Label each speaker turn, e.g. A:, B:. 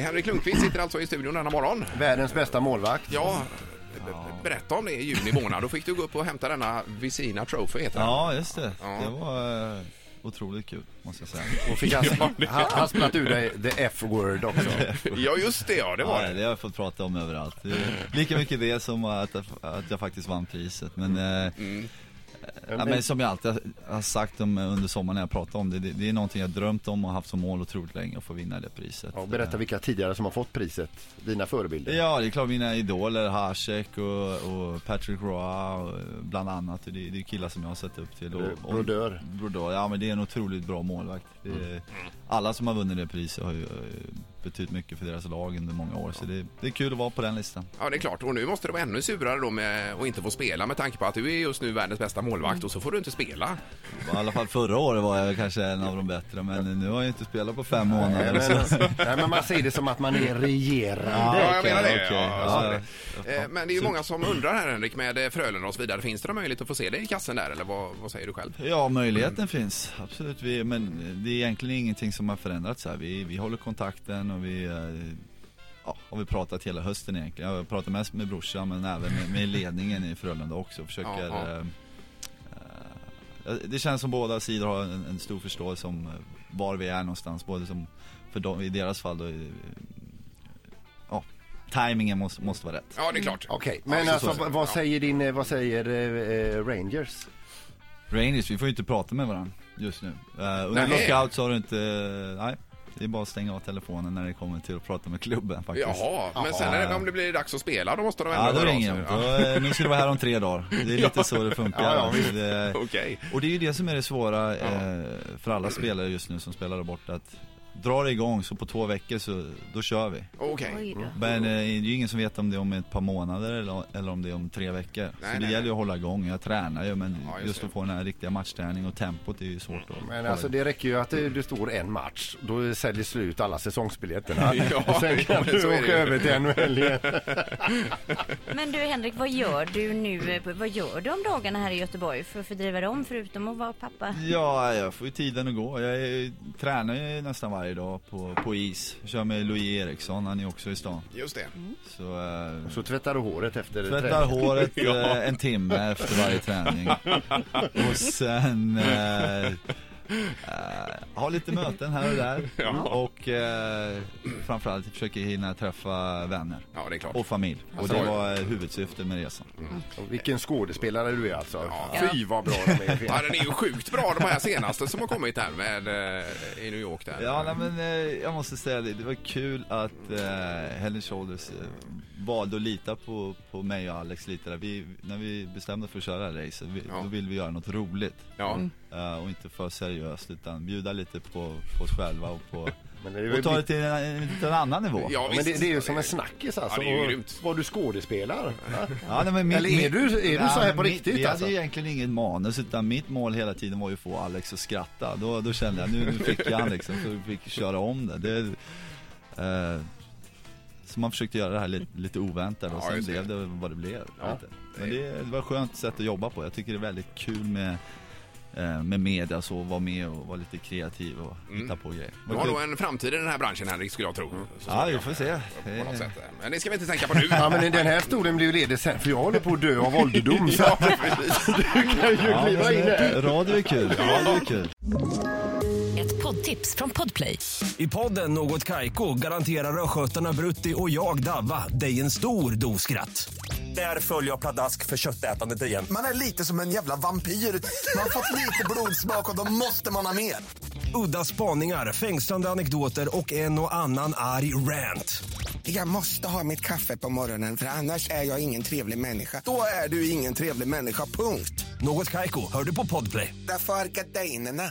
A: Henrik Lundqvist sitter alltså i studion denna morgon.
B: Världens bästa målvakt.
A: Ja, b- berätta om det i juni månad. Då fick du gå upp och hämta denna Visina Trophy, heter den.
C: Ja, just det.
A: Ja.
C: Det var eh, otroligt kul, måste jag säga.
B: Och fick han, han, han spratt ur dig the F-word också.
A: Ja, just det ja, det var
C: ja,
A: det.
C: det har jag fått prata om överallt. Det är Lika mycket det som att, att jag faktiskt vann priset. Men, eh,
A: Mm.
C: ja, men som jag alltid har- har sagt om, eh, under sommaren när jag pratar om det, det, det är någonting jag drömt om och haft som mål otroligt länge att få vinna det priset.
B: Ja, berätta vilka tidigare som har fått priset. Dina förebilder.
C: Ja, det är klart mina idoler, Hasek och, och Patrick Roy och, eh, bland annat. Det, det är killar som jag har sett upp till. Och, och,
B: Brodeur.
C: Brodeur, ja men det är en otroligt bra målvakt. Det
B: Mm.
C: är, Alla som har vunnit det priset har ju eh, betytt mycket för deras lag under många år. Så det, det är kul att vara på den listan.
A: Ja, det är klart. Och nu måste det vara ännu surare då med att inte få spela med tanke på att du är just nu världens bästa målvakt och så får du inte spela.
C: I alla fall förra året var jag kanske en av de bättre men nu har jag inte spelat på fem
B: Nej,
C: månader.
B: men,
C: så.
B: nej, men man säger det som att man är
A: Ja,
B: regerande.
A: jag menar det.
C: okej.
A: Ja,
C: Ja,
A: så
C: ja.
A: det. Eh, Men det är ju många som undrar här Henrik med eh, Frölunda och så vidare. Finns det någon möjlighet att få se dig i kassen där eller vad, vad säger du själv?
C: Ja, möjligheten finns. Absolut. Vi, men det är egentligen ingenting som har förändrats här. Vi, vi håller kontakten och vi eh, ja, har vi pratat hela hösten egentligen. Jag har pratat mest med brorsan men även med, med ledningen i Frölunda också. Försöker,
A: Ja, ja.
C: eh, eh, det känns som båda sidor har en, en stor förståelse om eh, var vi är någonstans. Både som, för dem, i deras fall då, eh, ja, tajmingen måste, måste vara rätt.
A: Ja, det är klart.
B: Okej,
A: Ja,
B: men
A: så-
B: alltså
A: så-
B: vad
A: ja.
B: säger din, eh, vad säger eh, eh, Rangers?
C: Rangers, vi får ju inte prata med varandra just nu. Eh, under
A: Nej.
C: lockout så har du inte, eh, nej. Det är bara att stänga av telefonen när det kommer till att prata med klubben faktiskt.
A: Jaha, men sen är det, om det blir dags att spela då måste de ändå
C: Ja, då
A: höra av
C: ringer
A: sig.
C: jag.
A: Ja.
C: Då, eh, Nu ska du vara här om tre dagar. Det är lite så det funkar.
B: Ja, ja,
C: Alltså,
B: visst.
C: det,
A: Okej.
C: och det är ju det som är det svåra eh, för alla spelare just nu som spelar där borta. Att drar det igång så på två veckor så då kör vi.
A: Okej.
D: Oj då.
C: Men eh, det är ju ingen som vet om det är om ett par månader eller, eller om det är om tre veckor.
A: Nej,
C: så det
A: nej,
C: gäller ju att hålla igång. Jag tränar ju men
A: Ja, just
C: just,
A: det. Mm.
C: att få den här riktiga matchträning och tempot är ju svårt att
B: Men
C: få
B: alltså
C: det.
B: det räcker ju att det, det står en match, då säljer slut alla säsongsbiljetterna.
A: Ja,
B: och sen
A: ja,
B: kan
A: men så är
B: du
A: det ju.
B: åka över till NHL igen.
D: Men du Henrik, vad gör du nu? Vad gör du om dagarna här i Göteborg för att fördriva dem förutom att vara pappa?
C: Ja, jag får ju tiden att gå. Jag är, tränar ju nästan varje dag på, på is. Jag kör med Louis Eriksson, han är också i stan.
A: Just det.
C: Så, eh,
B: Så tvättar du håret efter
C: tvättar
B: träningen.
C: håret eh, en timme efter varje träning. Och sen eh, eh, ha lite möten här och där. Och eh, framförallt försöker hinna träffa vänner
A: Ja, det är klart.
C: och familj. Och det
B: Alltså,
C: var eh, huvudsyftet med resan.
B: Och Vilken skådespelare du är alltså.
A: Ja.
B: Fy vad bra de är.
A: Ja, den är ju sjukt bra de här senaste som har kommit här med, eh, i New York där.
C: Ja, nej, men eh, jag måste säga det. Det var kul att eh, Head and Shoulders eh, valde att lita på, på mig och Alex lite där. Vi, när vi bestämde för att köra det här racet, vi,
A: Ja.
C: då ville vi göra något roligt.
A: Ja.
C: Eh, och inte för seriöst, utan bjuda lite på, på oss själva och, på,
B: Men det är ju
C: och ta det till en, en, liten annan nivå.
A: Ja,
B: men det,
A: visst.
B: det är ju som en snackis alltså.
A: Ja, det är ju
B: Och
A: grymt.
B: Var du skådespelar? Ja.
C: Ja, nej, men
B: Eller är du- är du
C: nej,
B: så här
C: men
B: på
C: mitt-
B: riktigt,
C: Vi
B: alltså?
C: hade ju egentligen inget manus utan mitt mål hela tiden var ju att få Alex att skratta. Då, då kände jag nu, nu fick jag han liksom så vi fick köra om det. det eh, så man försökte göra det här lite, lite oväntat och
A: Ja,
C: sen
A: just det.
C: blev det vad det blev. Lite. Men det, det var ett skönt sätt att jobba på. Jag tycker det är väldigt kul med eh, med media och så, vara med och vara lite kreativ och
B: Mm.
C: hitta på grejer.
A: Du har nog en framtid i den här branschen Henrik, skulle jag tro. Så
C: Ja, vi får se. Eh,
A: på något sätt. Men det ska vi inte tänka på nu.
B: Ja men den här stolen blir ju ledig sen för jag håller på att dö av ålderdom. Så att du kan ju
C: Ja,
B: kliva in här.
C: men, radio är kul, radio är kul.
E: Ett poddtips från Podplay.
F: I podden Något Kaiko garanterar östgötarna Brutti och jag, Davva, dig en stor dos skratt. Där följer jag pladask för köttätandet igen.
G: Man är lite som en jävla vampyr. Man har fått lite blodsmak och då måste man ha mer.
F: Udda spaningar, fängslande anekdoter och en och annan arg rant.
G: Jag måste ha mitt kaffe på morgonen för annars är jag ingen trevlig människa. Då är du ingen trevlig människa, punkt.
F: Något Kaiko, hör du på Podplay.
G: Därför arkadeinerna.